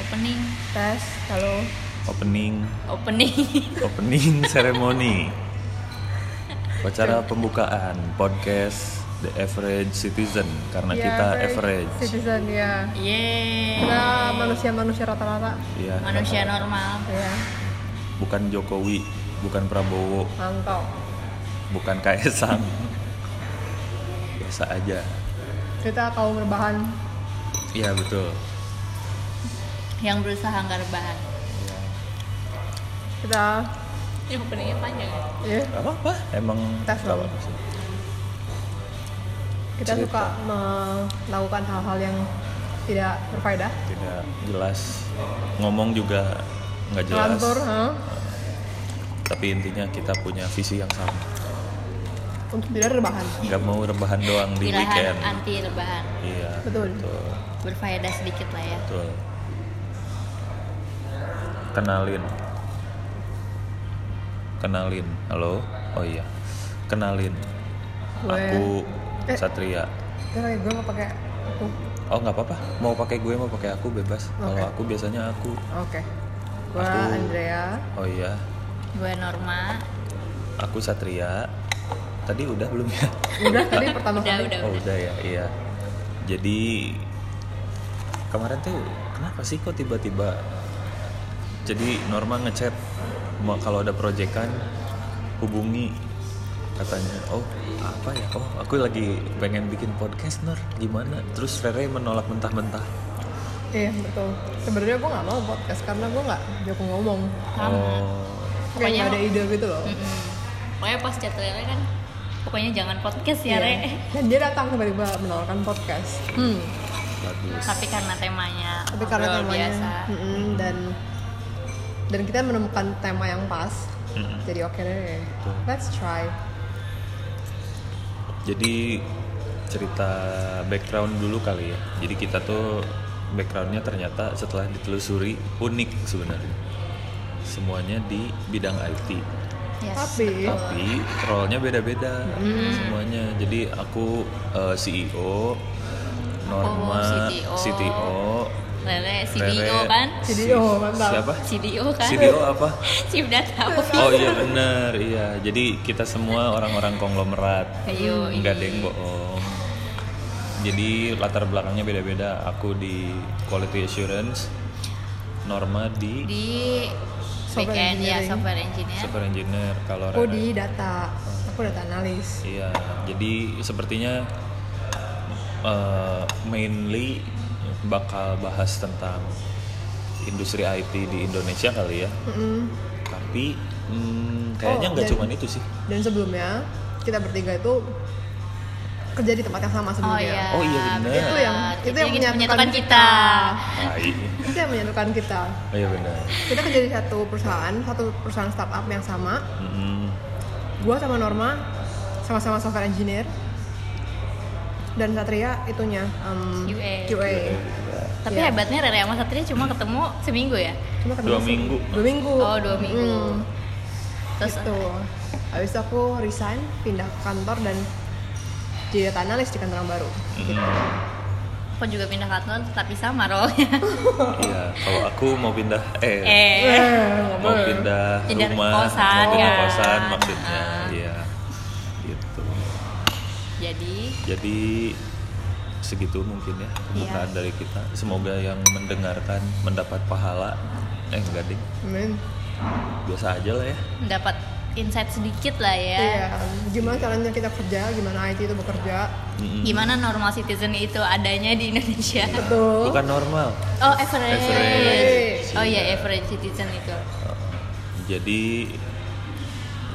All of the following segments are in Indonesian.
opening tes kalau Opening, opening opening ceremony. Acara pembukaan podcast The Average Citizen karena Ya, kita very average. Citizen ya. yeay Kita manusia-manusia rata-rata. Iya. manusia normal Ya, Bukan Jokowi, bukan Prabowo, mantap. bukan Kaisang. Biasa aja. Kita kaum berbahan. Iya, betul. yang berusaha nggak rebahan Kita ini openingnya panjang ya ya, Gak apa-apa. Iya. Emang Kita gak apa-apa sih. kita Cerita. suka melakukan hal-hal yang tidak berfaedah. Tidak jelas. Ngomong juga nggak jelas. Ngelantur, huh? Tapi intinya kita punya visi yang sama. untuk tidak rebahan. Nggak mau rebahan doang di pilihan weekend. anti rebahan Iya. Betul. Betul. berfaedah sedikit lah ya Betul. Kenalin. Kenalin. Halo. Oh iya. Kenalin. Gue- Aku Eh. Satria. Kita kayak gue mau pakai aku. Oh nggak apa-apa. Mau pakai gue mau pakai aku bebas. Kalau aku biasanya aku. Oke. Gua Aku. Andrea. Oh iya. gue normal Aku Satria. Tadi udah belum ya? Udah tadi pertama udah kali. udah Oh udah ya. Iya. Jadi kemarin tuh kenapa sih kok tiba-tiba jadi Norma ngechat mau kalau ada proyekan hubungi katanya oh apa ya oh aku lagi pengen bikin podcast Nur gimana terus Rere menolak mentah-mentah Iya betul. Sebenarnya gue nggak mau podcast karena gue nggak jago ngomong. oh Kayak nggak ada ide gitu loh. Mm-mm. pokoknya pas chat Rere kan pokoknya jangan podcast ya Re Iya. Dan dia datang tiba-tiba menawarkan podcast. Hmm. bagus tapi karena temanya Tapi karena ngobrol temanya biasa mm-mm, dan dan kita menemukan tema yang pas. Jadi oke deh. Let's try. jadi cerita background dulu kali ya jadi kita tuh backgroundnya ternyata setelah ditelusuri unik sebenarnya semuanya di bidang IT Yes. Tapi tapi role-nya beda-beda Hmm. semuanya jadi aku eh, CEO Norma CTO, CTO Rere Rere, CDO kan CDO, mantap. siapa CDO kan CDO apa Chief Data Officer oh iya bener iya jadi kita semua orang-orang konglomerat Ayo, Enggak deng bohong. Jadi latar belakangnya beda-beda. Aku di quality assurance, Norma di di Software backend ya engineering. software engineer software engineer. Kalau aku Rere- Oh, di data. Aku data analis. Iya. Jadi sepertinya eh, mainly bakal bahas tentang industri IT di Indonesia kali ya. Mm-mm. Tapi hmm, kayaknya Oh, nggak dan- cuman itu sih. Dan sebelumnya kita bertiga itu kerja di tempat yang sama oh sebelumnya. iya Nah, Oh, iya, benar. Itu yang itu yang menyatukan, kita. Hai. Itu yang menyatukan kita. Oh iya benar. Kita kerja di satu perusahaan, satu perusahaan startup yang sama. Mm-mm. Gua sama Norma sama-sama software engineer dan Satria itunya em, QA. Iya. tapi Iya. hebatnya Rere sama Satria cuma ketemu seminggu ya Cuma ketemu Dua sih. minggu. Dua minggu. oh dua minggu Mm, terus gitu. Habis itu aku resign, pindah ke kantor dan jadi data analis di kantor yang baru. Gitu. Mm-mm. aku juga pindah kantor tapi sama role nya Iya, kalau aku mau pindah eh, eh mau pindah Pindah rumah, kosan, mau pindah kan. kosan maksudnya, Ah. iya. Gitu. jadi Jadi segitu mungkin ya pembukaan Iya. dari kita. Semoga yang mendengarkan mendapat pahala. Eh enggak deh, Amin. biasa aja lah ya. mendapat insight sedikit lah ya Iya. Gimana caranya kita kerja? Gimana IT itu bekerja? Mm-mm. gimana Hmm. normal citizen itu adanya di Indonesia Iya. Betul. Bukan normal. oh average, Average. oh iya average citizen itu Jadi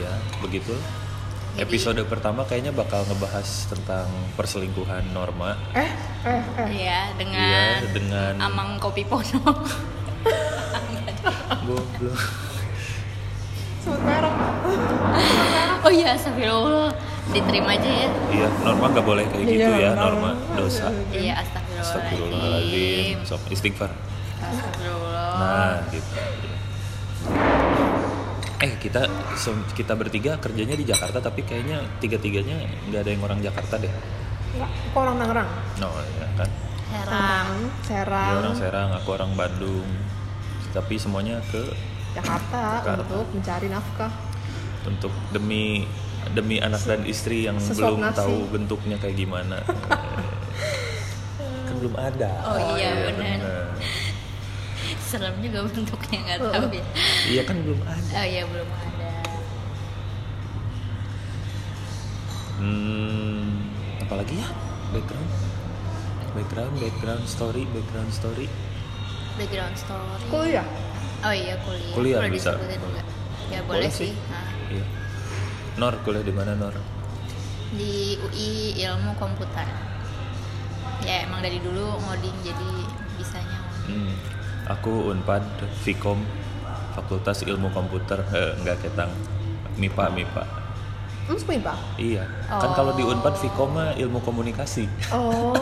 ya begitu. Jadi- Episode pertama kayaknya bakal ngebahas tentang perselingkuhan norma. Eh, eh, eh. Iya dengan Iya, dengan Amang Kopi Pono goblok. Sebut merek. Oh iya, astagfirullah Diterima aja ya Iya, Norma nggak boleh kayak gitu Iya, ya, Norma. Norma dosa. Iya, astagfirullahaladzim Astagfirullahaladzim, sok istighfar. Astagfirullah Nah, gitu. Eh, kita sem- kita bertiga kerjanya di Jakarta, tapi kayaknya tiga-tiganya nggak ada yang orang Jakarta deh. Enggak, aku orang Tangerang. No, ya kan. Serang. Serang, Dia Serang, Iya, orang Serang, aku orang Bandung. Tapi semuanya ke Jakarta Jakarta. untuk mencari nafkah. untuk demi demi anak dan istri yang Sesuap belum nafsi. tahu bentuknya kayak gimana. kan belum ada. Oh iya, benar. benar. Serem juga bentuknya nggak tahu ya. Iya kan belum ada. Oh iya belum ada. Hmm, apalagi ya? Background. Background, background story, background story. Background story. Kuliah, Oh iya kuliah. Kuliah Boleh bisa. disebutin nggak? Ya boleh, Boleh sih. sih. Nah, Iya. Nor kuliah di mana Nor? di UI Ilmu Komputer. Ya emang dari dulu ngoding jadi bisanya. ngoding. Hmm, aku Unpad Vkom Fakultas Ilmu Komputer eh, enggak ketang MIPA MIPA. Ems MIPA. Iya. Oh. Kan kalau di Unpad Vkom mah ilmu komunikasi. Oh,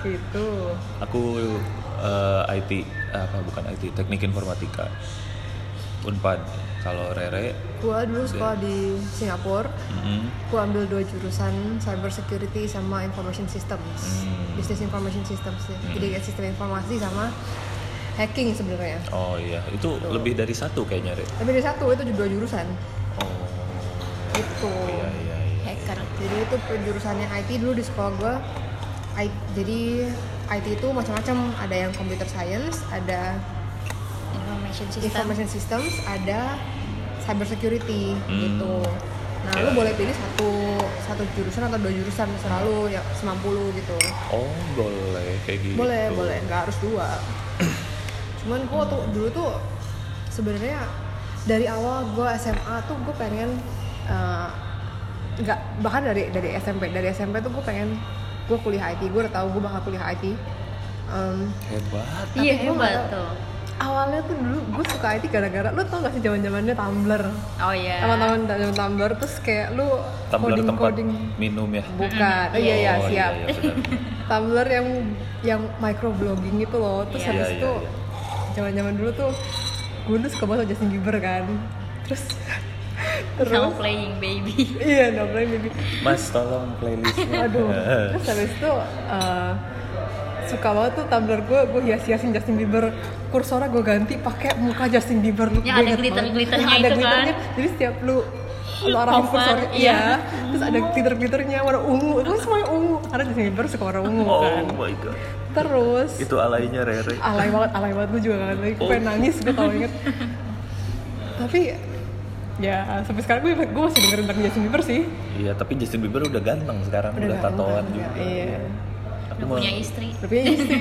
gitu. Aku eh, IT apa bukan IT, Teknik Informatika. Unpad. Kalau Rere, Gua dulu sekolah di Singapura. mm, Gua ambil dua jurusan cyber security sama information systems, Hmm. business information systems. ya. Jadi kayak sistem informasi sama hacking sebenarnya. Oh iya, itu lebih dari satu kayaknya, Re. Tapi dari satu itu dua jurusan Oh. gitu. Iya, iya, iya. Hacker. Jadi itu jurusannya IT dulu di sekolah gue. jadi IT itu macam-macam. Ada yang computer science, ada Information system. information systems, ada cyber security Hmm. gitu. Nah, Ya. lu boleh pilih satu satu jurusan atau dua jurusan selalu ya semampu lu gitu. Oh, boleh kayak gitu. Boleh, boleh, nggak harus dua. Cuman gue tuh dulu tuh sebenarnya dari awal gue SMA tuh gue pengen eh, nggak bahkan dari dari SMP dari SMP tuh gue pengen gue kuliah IT gue udah tahu gue bakal kuliah IT. Em, Hebat. Tapi Iya gua nggak hebat tahu. tuh. awalnya tuh dulu gue suka IT gara-gara lu tau gak sih zaman zamannya Tumblr Oh iya. teman-teman zaman Tumblr terus kayak lu Tumbler coding tempat coding minum ya. bukan oh iya iya Oh, siap Iya, benar. Tumblr yang yang microblogging itu loh terus Iya. habis Iya, itu iya, zaman-zaman dulu tuh gue dulu suka banget sama Justin Bieber kan terus Now terus playing baby. iya no problem baby Mas tolong playlistnya. aduh terus habis itu eh, suka banget tuh Tumblr gue gue hias-hiasin Justin Bieber kursornya gue ganti pakai muka Justin Bieber Gua Yang ada inget glitter- banget. glitternya Yang ada itu kan. glitternya. jadi setiap lu lu arahin Over, kursor iya. iya terus ada glitter glitternya warna ungu terus semuanya ungu karena Justin Bieber suka warna ungu kan oh my god. terus Itu Oh. alainya Rere. alay banget alay banget gue juga kangen lagi gue pengen nangis gue tau inget tapi ya sampai sekarang gue gue masih dengerin lagu Justin Bieber sih Iya, tapi Justin Bieber udah ganteng sekarang, udah, gak- tatoan udah- juga. iya Udah Aku mau- punya istri. tapi ya istri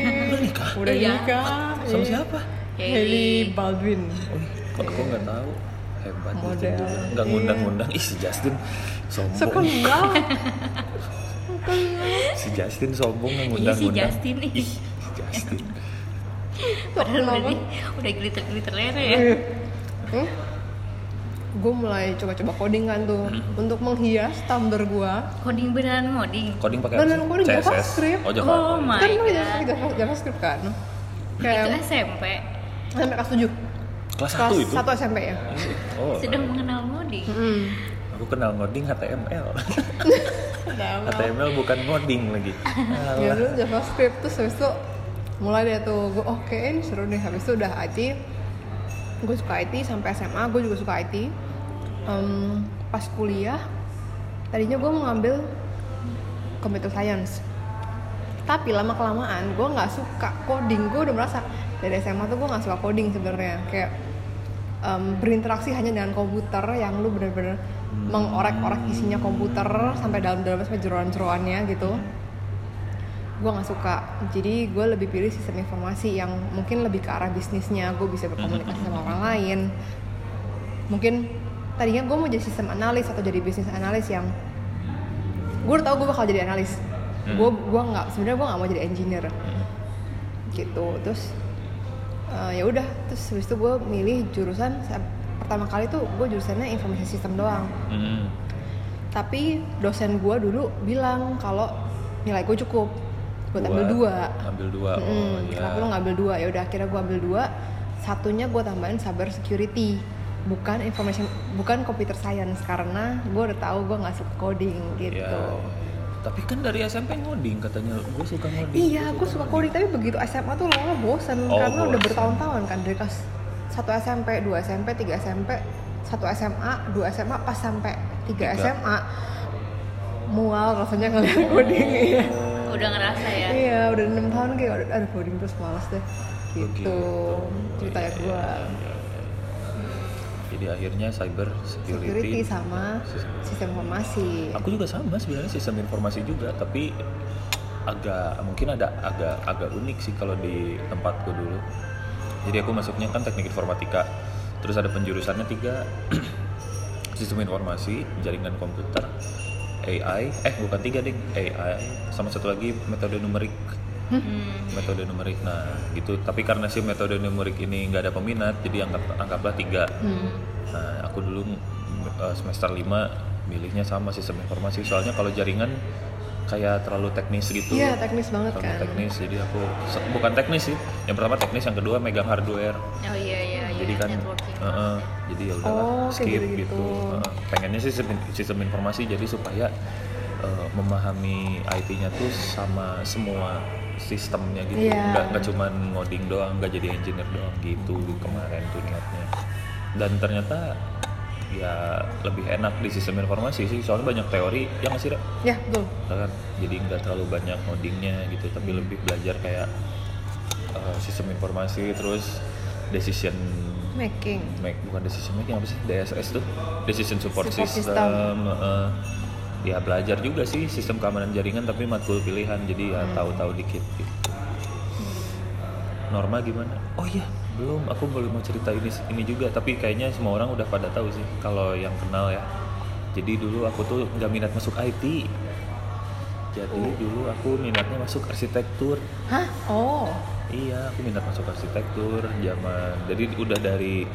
udah Iya. nikah Sama iya. siapa? Hailey Baldwin Oh, kok aku nggak tahu. Hebat Model. Justin Bieber. Nggak Iya. ngundang-ngundang. Ih, si Justin sombong. sekolah si Justin sombong nggak ngundang-ngundang. Iya, si Justin. Ih, si Justin. Padahal udah di- udah glitter glitter lere Iya. ya. hmm? gue Eh. mulai coba-coba coding kan tuh untuk menghias Tumblr gue Coding beneran ngoding. Coding pakai Dan apa? coding CSS. JavaScript. Oh, Oh JavaScript. my kan gue god. Java- JavaScript kan Itu kayak SMP sampai kelas 7 Kelas 1 kelas itu. 1 SMP ya Oh. sudah mengenal ngoding. Hmm. Aku kenal ngoding HTML. Udah, HTML bukan ngoding lagi. ya Alah. dulu JavaScript terus habis itu mulai deh tuh gue oke ini seru nih habis itu udah IT gue suka IT sampai SMA gue juga suka IT Em, pas kuliah tadinya gue mau ngambil computer science tapi lama kelamaan gue nggak suka coding gue udah merasa dari SMA tuh gue nggak suka coding sebenarnya kayak em, berinteraksi hanya dengan komputer yang lu bener-bener mengorek-orek isinya komputer sampai dalam-dalam sampai jeroan-jeroannya gitu gue nggak suka jadi gue lebih pilih sistem informasi yang mungkin lebih ke arah bisnisnya gue bisa berkomunikasi sama orang lain mungkin tadinya gue mau jadi sistem analis atau jadi bisnis analis yang gue udah tau gue bakal jadi analis gue gua nggak sebenarnya gue nggak mau jadi engineer gitu terus eh, ya udah terus habis itu gue milih jurusan pertama kali tuh gue jurusannya information system doang Hmm. tapi dosen gue dulu bilang kalau nilai gue cukup gue ambil dua Ambil dua. Oh, Mm, iya. kenapa lu ngambil dua ya udah akhirnya gue ambil dua satunya gue tambahin cyber security bukan information bukan computer science karena gue udah tahu gue nggak suka coding gitu Iya. tapi kan dari SMP ngoding katanya gue suka ngoding Iya, aku suka coding tapi begitu SMA tuh lama bosan Oh, karena udah bosan. bertahun-tahun kan dari kelas 1 SMP, 2 SMP, 3 SMP, 1 SMA, 2 SMA pas sampai 3 Tiga. SMA mual rasanya ngeliat Oh. coding iya. udah ngerasa ya Iya, udah 6 tahun kayak udah ada coding terus malas deh. Gitu Begitu. ceritanya Iya, gua. iya, iya, iya. jadi akhirnya cyber security, Iya. Security sama sistem informasi. aku juga sama sebenarnya sistem informasi juga tapi agak mungkin ada agak agak unik sih kalau di tempatku dulu jadi aku masuknya kan teknik informatika terus ada penjurusannya tiga sistem informasi jaringan komputer AI eh bukan tiga ding AI sama satu lagi metode numerik Hmm. metode numerik nah gitu tapi karena sih metode numerik ini nggak ada peminat jadi anggap anggaplah tiga Hmm. Nah, aku dulu mm, eh, semester 5 milihnya sama sistem informasi soalnya kalau jaringan kayak terlalu teknis gitu. Iya, teknis banget terlalu kan. teknis jadi aku se- bukan teknis sih. Yang pertama teknis, yang kedua megang hardware. oh iya iya iya Jadi kan networking eh, eh, jadi ya udahlah Ya, Oh, kayak skip gitu. gitu-gitu. Eh, pengennya sih sistem, sistem informasi jadi supaya eh, memahami IT-nya tuh sama semua sistemnya gitu. Iya. Nggak, nggak cuman ngoding doang, nggak jadi engineer doang gitu kemarin tuh niatnya. Dan ternyata ya lebih enak di sistem informasi sih soalnya banyak teori yang masih Ya, betul. kan jadi nggak terlalu banyak codingnya gitu tapi lebih belajar kayak eh, sistem informasi terus decision Making. make bukan decision making apa sih DSS tuh decision support, Support system, system. eh, ya belajar juga sih sistem keamanan jaringan tapi matkul pilihan jadi ya Hmm. tahu-tahu dikit gitu. Norma gimana? Oh iya belum aku belum mau cerita ini ini juga tapi kayaknya semua orang udah pada tahu sih kalau yang kenal ya jadi dulu aku tuh nggak minat masuk IT jadi Oh. dulu aku minatnya masuk arsitektur Hah? Oh. Iya, aku minat masuk arsitektur zaman. Jadi udah dari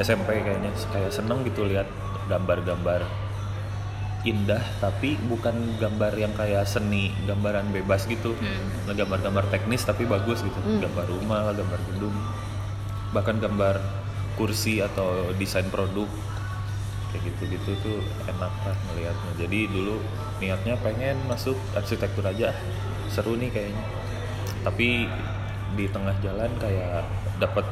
SMP kayaknya kayak seneng gitu lihat gambar-gambar indah tapi bukan gambar yang kayak seni gambaran bebas gitu Nah, gambar-gambar teknis tapi bagus gitu gambar rumah lah gambar gedung bahkan gambar kursi atau desain produk kayak gitu-gitu tuh enak lah melihatnya jadi dulu niatnya pengen masuk arsitektur aja seru nih kayaknya tapi di tengah jalan kayak dapat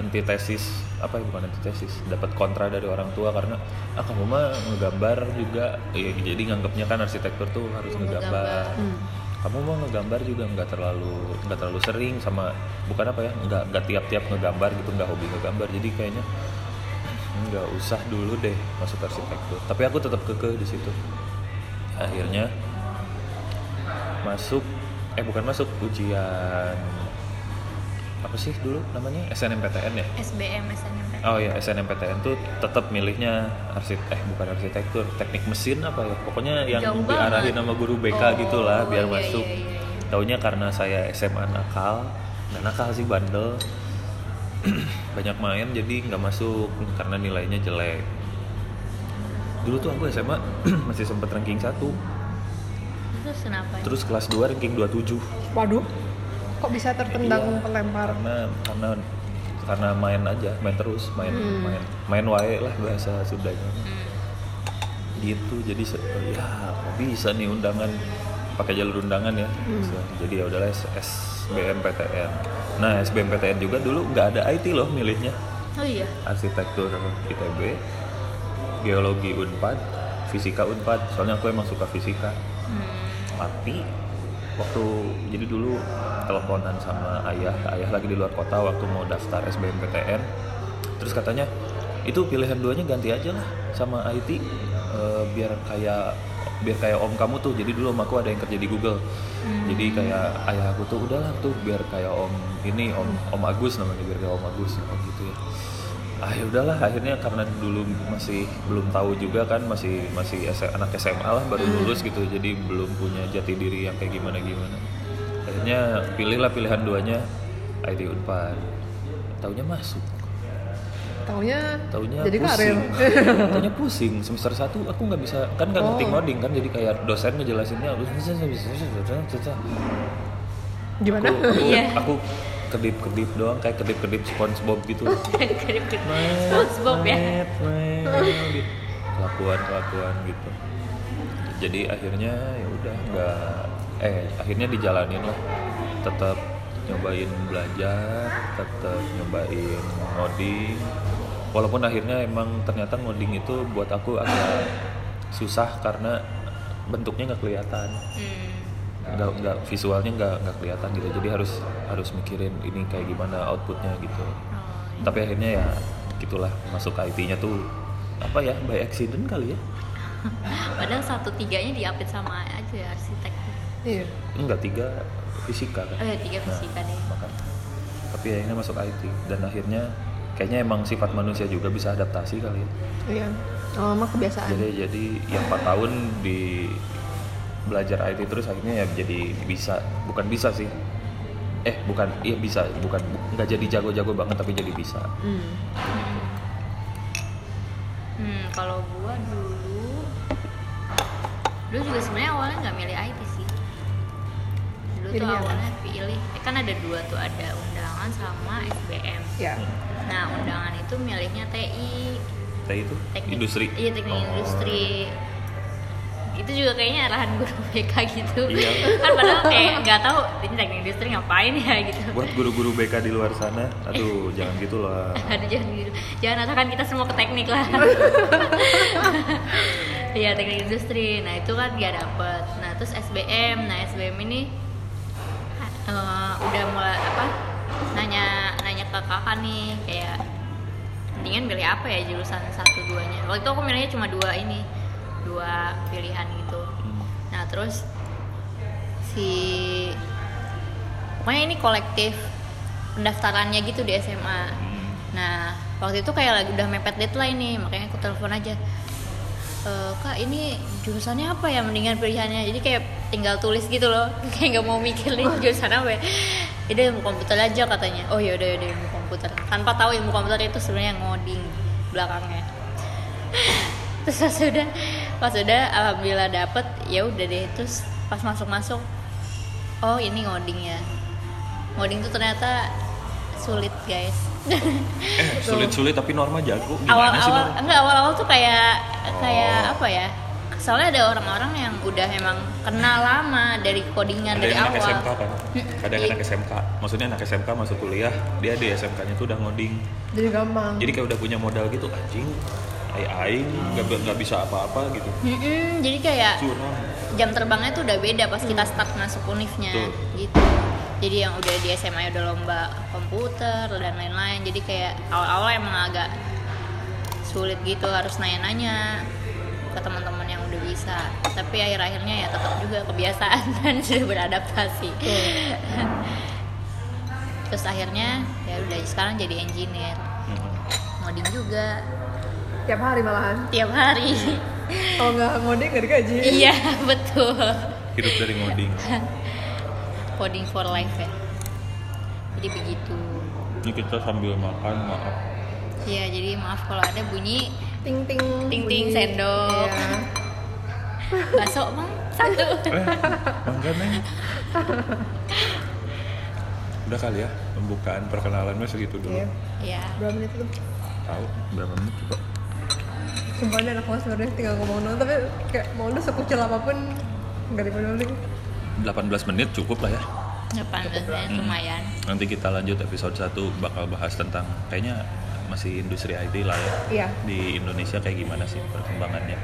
antitesis apa ya bukan antitesis dapat kontra dari orang tua karena ah kamu mah ngegambar juga ya, jadi nganggapnya kan arsitektur tuh harus Ngegambar. ngegambar Hmm. kamu mau ngegambar juga nggak terlalu nggak terlalu sering sama bukan apa ya nggak nggak tiap-tiap ngegambar gitu nggak hobi ngegambar jadi kayaknya nggak usah dulu deh masuk arsitektur tapi aku tetap kekeh di situ akhirnya masuk eh bukan masuk ujian apa sih dulu namanya SNMPTN ya SBM SNMP Oh ya SNMPTN tuh tetap milihnya arsitek eh bukan arsitektur, teknik mesin apa ya. Pokoknya yang Jauh diarahin banget. sama guru BK Oh, gitulah biar iya, masuk. iya, iya, Taunya karena saya SMA nakal, dan nakal sih bandel. Banyak main jadi nggak masuk karena nilainya jelek. Dulu tuh aku SMA masih sempet ranking 1, terus kenapa terus kelas 2 ranking 27. Waduh. Kok bisa tertendang Iya, pelempar? karena karena karena main aja main terus main Hmm. main main wae lah bahasa Sundanya gitu jadi se- ya kok bisa nih undangan pakai jalur undangan ya jadi ya udahlah S- SBMPTN nah SBMPTN juga dulu nggak ada IT loh milihnya oh iya arsitektur ITB geologi Unpad fisika Unpad soalnya aku emang suka fisika Hmm. tapi waktu jadi dulu teleponan sama ayah ayah lagi di luar kota waktu mau daftar SBMPTN terus katanya itu pilihan duanya ganti aja lah sama IT eh, biar kayak biar kayak om kamu tuh jadi dulu om aku ada yang kerja di Google jadi kayak ayah aku tuh udahlah tuh biar kayak om ini om om Agus namanya biar kayak om Agus oh gitu ya ah ya udahlah akhirnya karena dulu masih belum tahu juga kan masih masih S- anak SMA lah baru Hmm. lulus gitu jadi belum punya jati diri yang kayak gimana gimana akhirnya pilihlah pilihan duanya IT Unpad taunya masuk Taunya taunya jadi pusing Iya, karir. taunya pusing semester 1 aku nggak bisa kan nggak ngerti Oh. ngoding kan jadi kayak dosen ngejelasinnya Gimana? aku aku, Iya. aku kedip kedip doang kayak kedip kedip SpongeBob gitu Kedip-kedip. Met, SpongeBob ya met, met, gitu. kelakuan kelakuan gitu jadi akhirnya ya udah nggak eh akhirnya dijalanin lah tetap nyobain belajar tetap nyobain ngoding walaupun akhirnya emang ternyata ngoding itu buat aku agak susah karena bentuknya nggak kelihatan Hmm. nggak nggak visualnya nggak nggak kelihatan gitu jadi harus harus mikirin ini kayak gimana outputnya gitu Oh, iya. tapi akhirnya ya gitulah masuk ke IT-nya tuh apa ya by accident kali ya Padahal satu tiganya diapit sama aja ya arsitek. Iya. enggak tiga fisika kan Oh ya tiga fisika deh. makanya. tapi akhirnya masuk IT dan akhirnya kayaknya emang sifat manusia juga bisa adaptasi kali ya Iya. Lama-lama kebiasaan. jadi jadi yang 4 tahun di belajar IT terus akhirnya ya jadi bisa bukan bisa sih eh bukan iya bisa bukan bu- nggak jadi jago-jago banget tapi jadi bisa Hmm. Hmm, kalau gua dulu dulu juga sebenarnya awalnya nggak milih IT sih. Dulu tuh Pilihnya apa? awalnya pilih eh, kan ada dua tuh ada undangan sama SBM. Ya. Nah, undangan itu milihnya TI. Teh itu Teknik, industri Iya, teknik Oh. industri. Itu juga kayaknya arahan guru BK gitu. Iya. kan padahal kayak nggak tahu ini teknik industri ngapain ya gitu. buat guru-guru BK di luar sana aduh jangan gitu lah Aduh jangan gitu. Jangan atakan kita semua ke teknik lah. Iya teknik industri. Nah itu kan gak dapet. Nah terus SBM. Nah SBM ini eh, udah mulai apa? Nanya nanya ke kakak nih kayak mendingan pilih apa ya jurusan satu duanya. Waktu itu aku milihnya cuma dua ini dua pilihan gitu. Hmm. Nah terus si pokoknya ini kolektif pendaftarannya gitu di SMA. Nah waktu itu kayak lagi udah mepet deadline nih, makanya aku telepon aja. "E, kak ini jurusannya apa ya mendingan pilihannya jadi kayak tinggal tulis gitu loh kayak nggak mau mikir nih jurusan apa ya "Yaudah, ilmu komputer aja katanya oh yaudah yaudah ilmu komputer tanpa tahu ilmu komputer itu sebenarnya ngoding belakangnya terus pas udah pas udah alhamdulillah dapet ya udah deh terus pas masuk masuk oh ini ngoding ya ngoding tuh ternyata sulit guys Eh, sulit-sulit tapi Norma jago awal gimana sih awal Norma? enggak awal awal tuh kayak kayak Oh. apa ya soalnya ada orang-orang yang udah emang kenal lama dari codingan ada dari yang anak awal SMK kan kadang Iya. anak SMK maksudnya anak SMK masuk kuliah dia di SMK nya tuh udah ngoding Jadi gampang. jadi kayak udah punya modal gitu anjing aing aing nggak nggak bisa apa-apa gitu Mm-mm, jadi kayak curang jam terbangnya tuh udah beda pas kita start masuk unifnya Betul. gitu jadi yang udah di SMA udah lomba komputer dan lain-lain jadi kayak awal-awal emang agak sulit gitu harus nanya-nanya ke teman-teman yang udah bisa tapi akhir-akhirnya ya tetap juga kebiasaan dan sudah beradaptasi terus akhirnya ya udah sekarang jadi engineer Mm-mm. ngoding juga Tiap hari malahan. tiap hari Kalau nggak ngoding nggak digaji. iya betul hidup dari ngoding coding for life ya jadi begitu ini kita sambil makan maaf ya jadi maaf kalau ada bunyi Ting ting. Ting-ting bunyi. sendok. Iya. bakso mang satu eh bangga neng udah kali ya pembukaan perkenalannya segitu dulu Iya. ya Berapa menit itu? tahu berapa menit juga Sumpah ini anak mas sebenarnya tinggal ngomong doang tapi kayak mau lu sekucil apapun nggak dipeduli. 18 menit cukup lah ya depan lumayan nanti kita lanjut episode 1 bakal bahas tentang kayaknya masih industri IT lah ya Iya. di Indonesia kayak gimana sih perkembangannya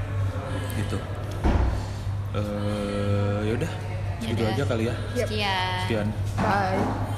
gitu eh yaudah segitu Yaudah. aja kali ya Yap. sekian sekian Bye.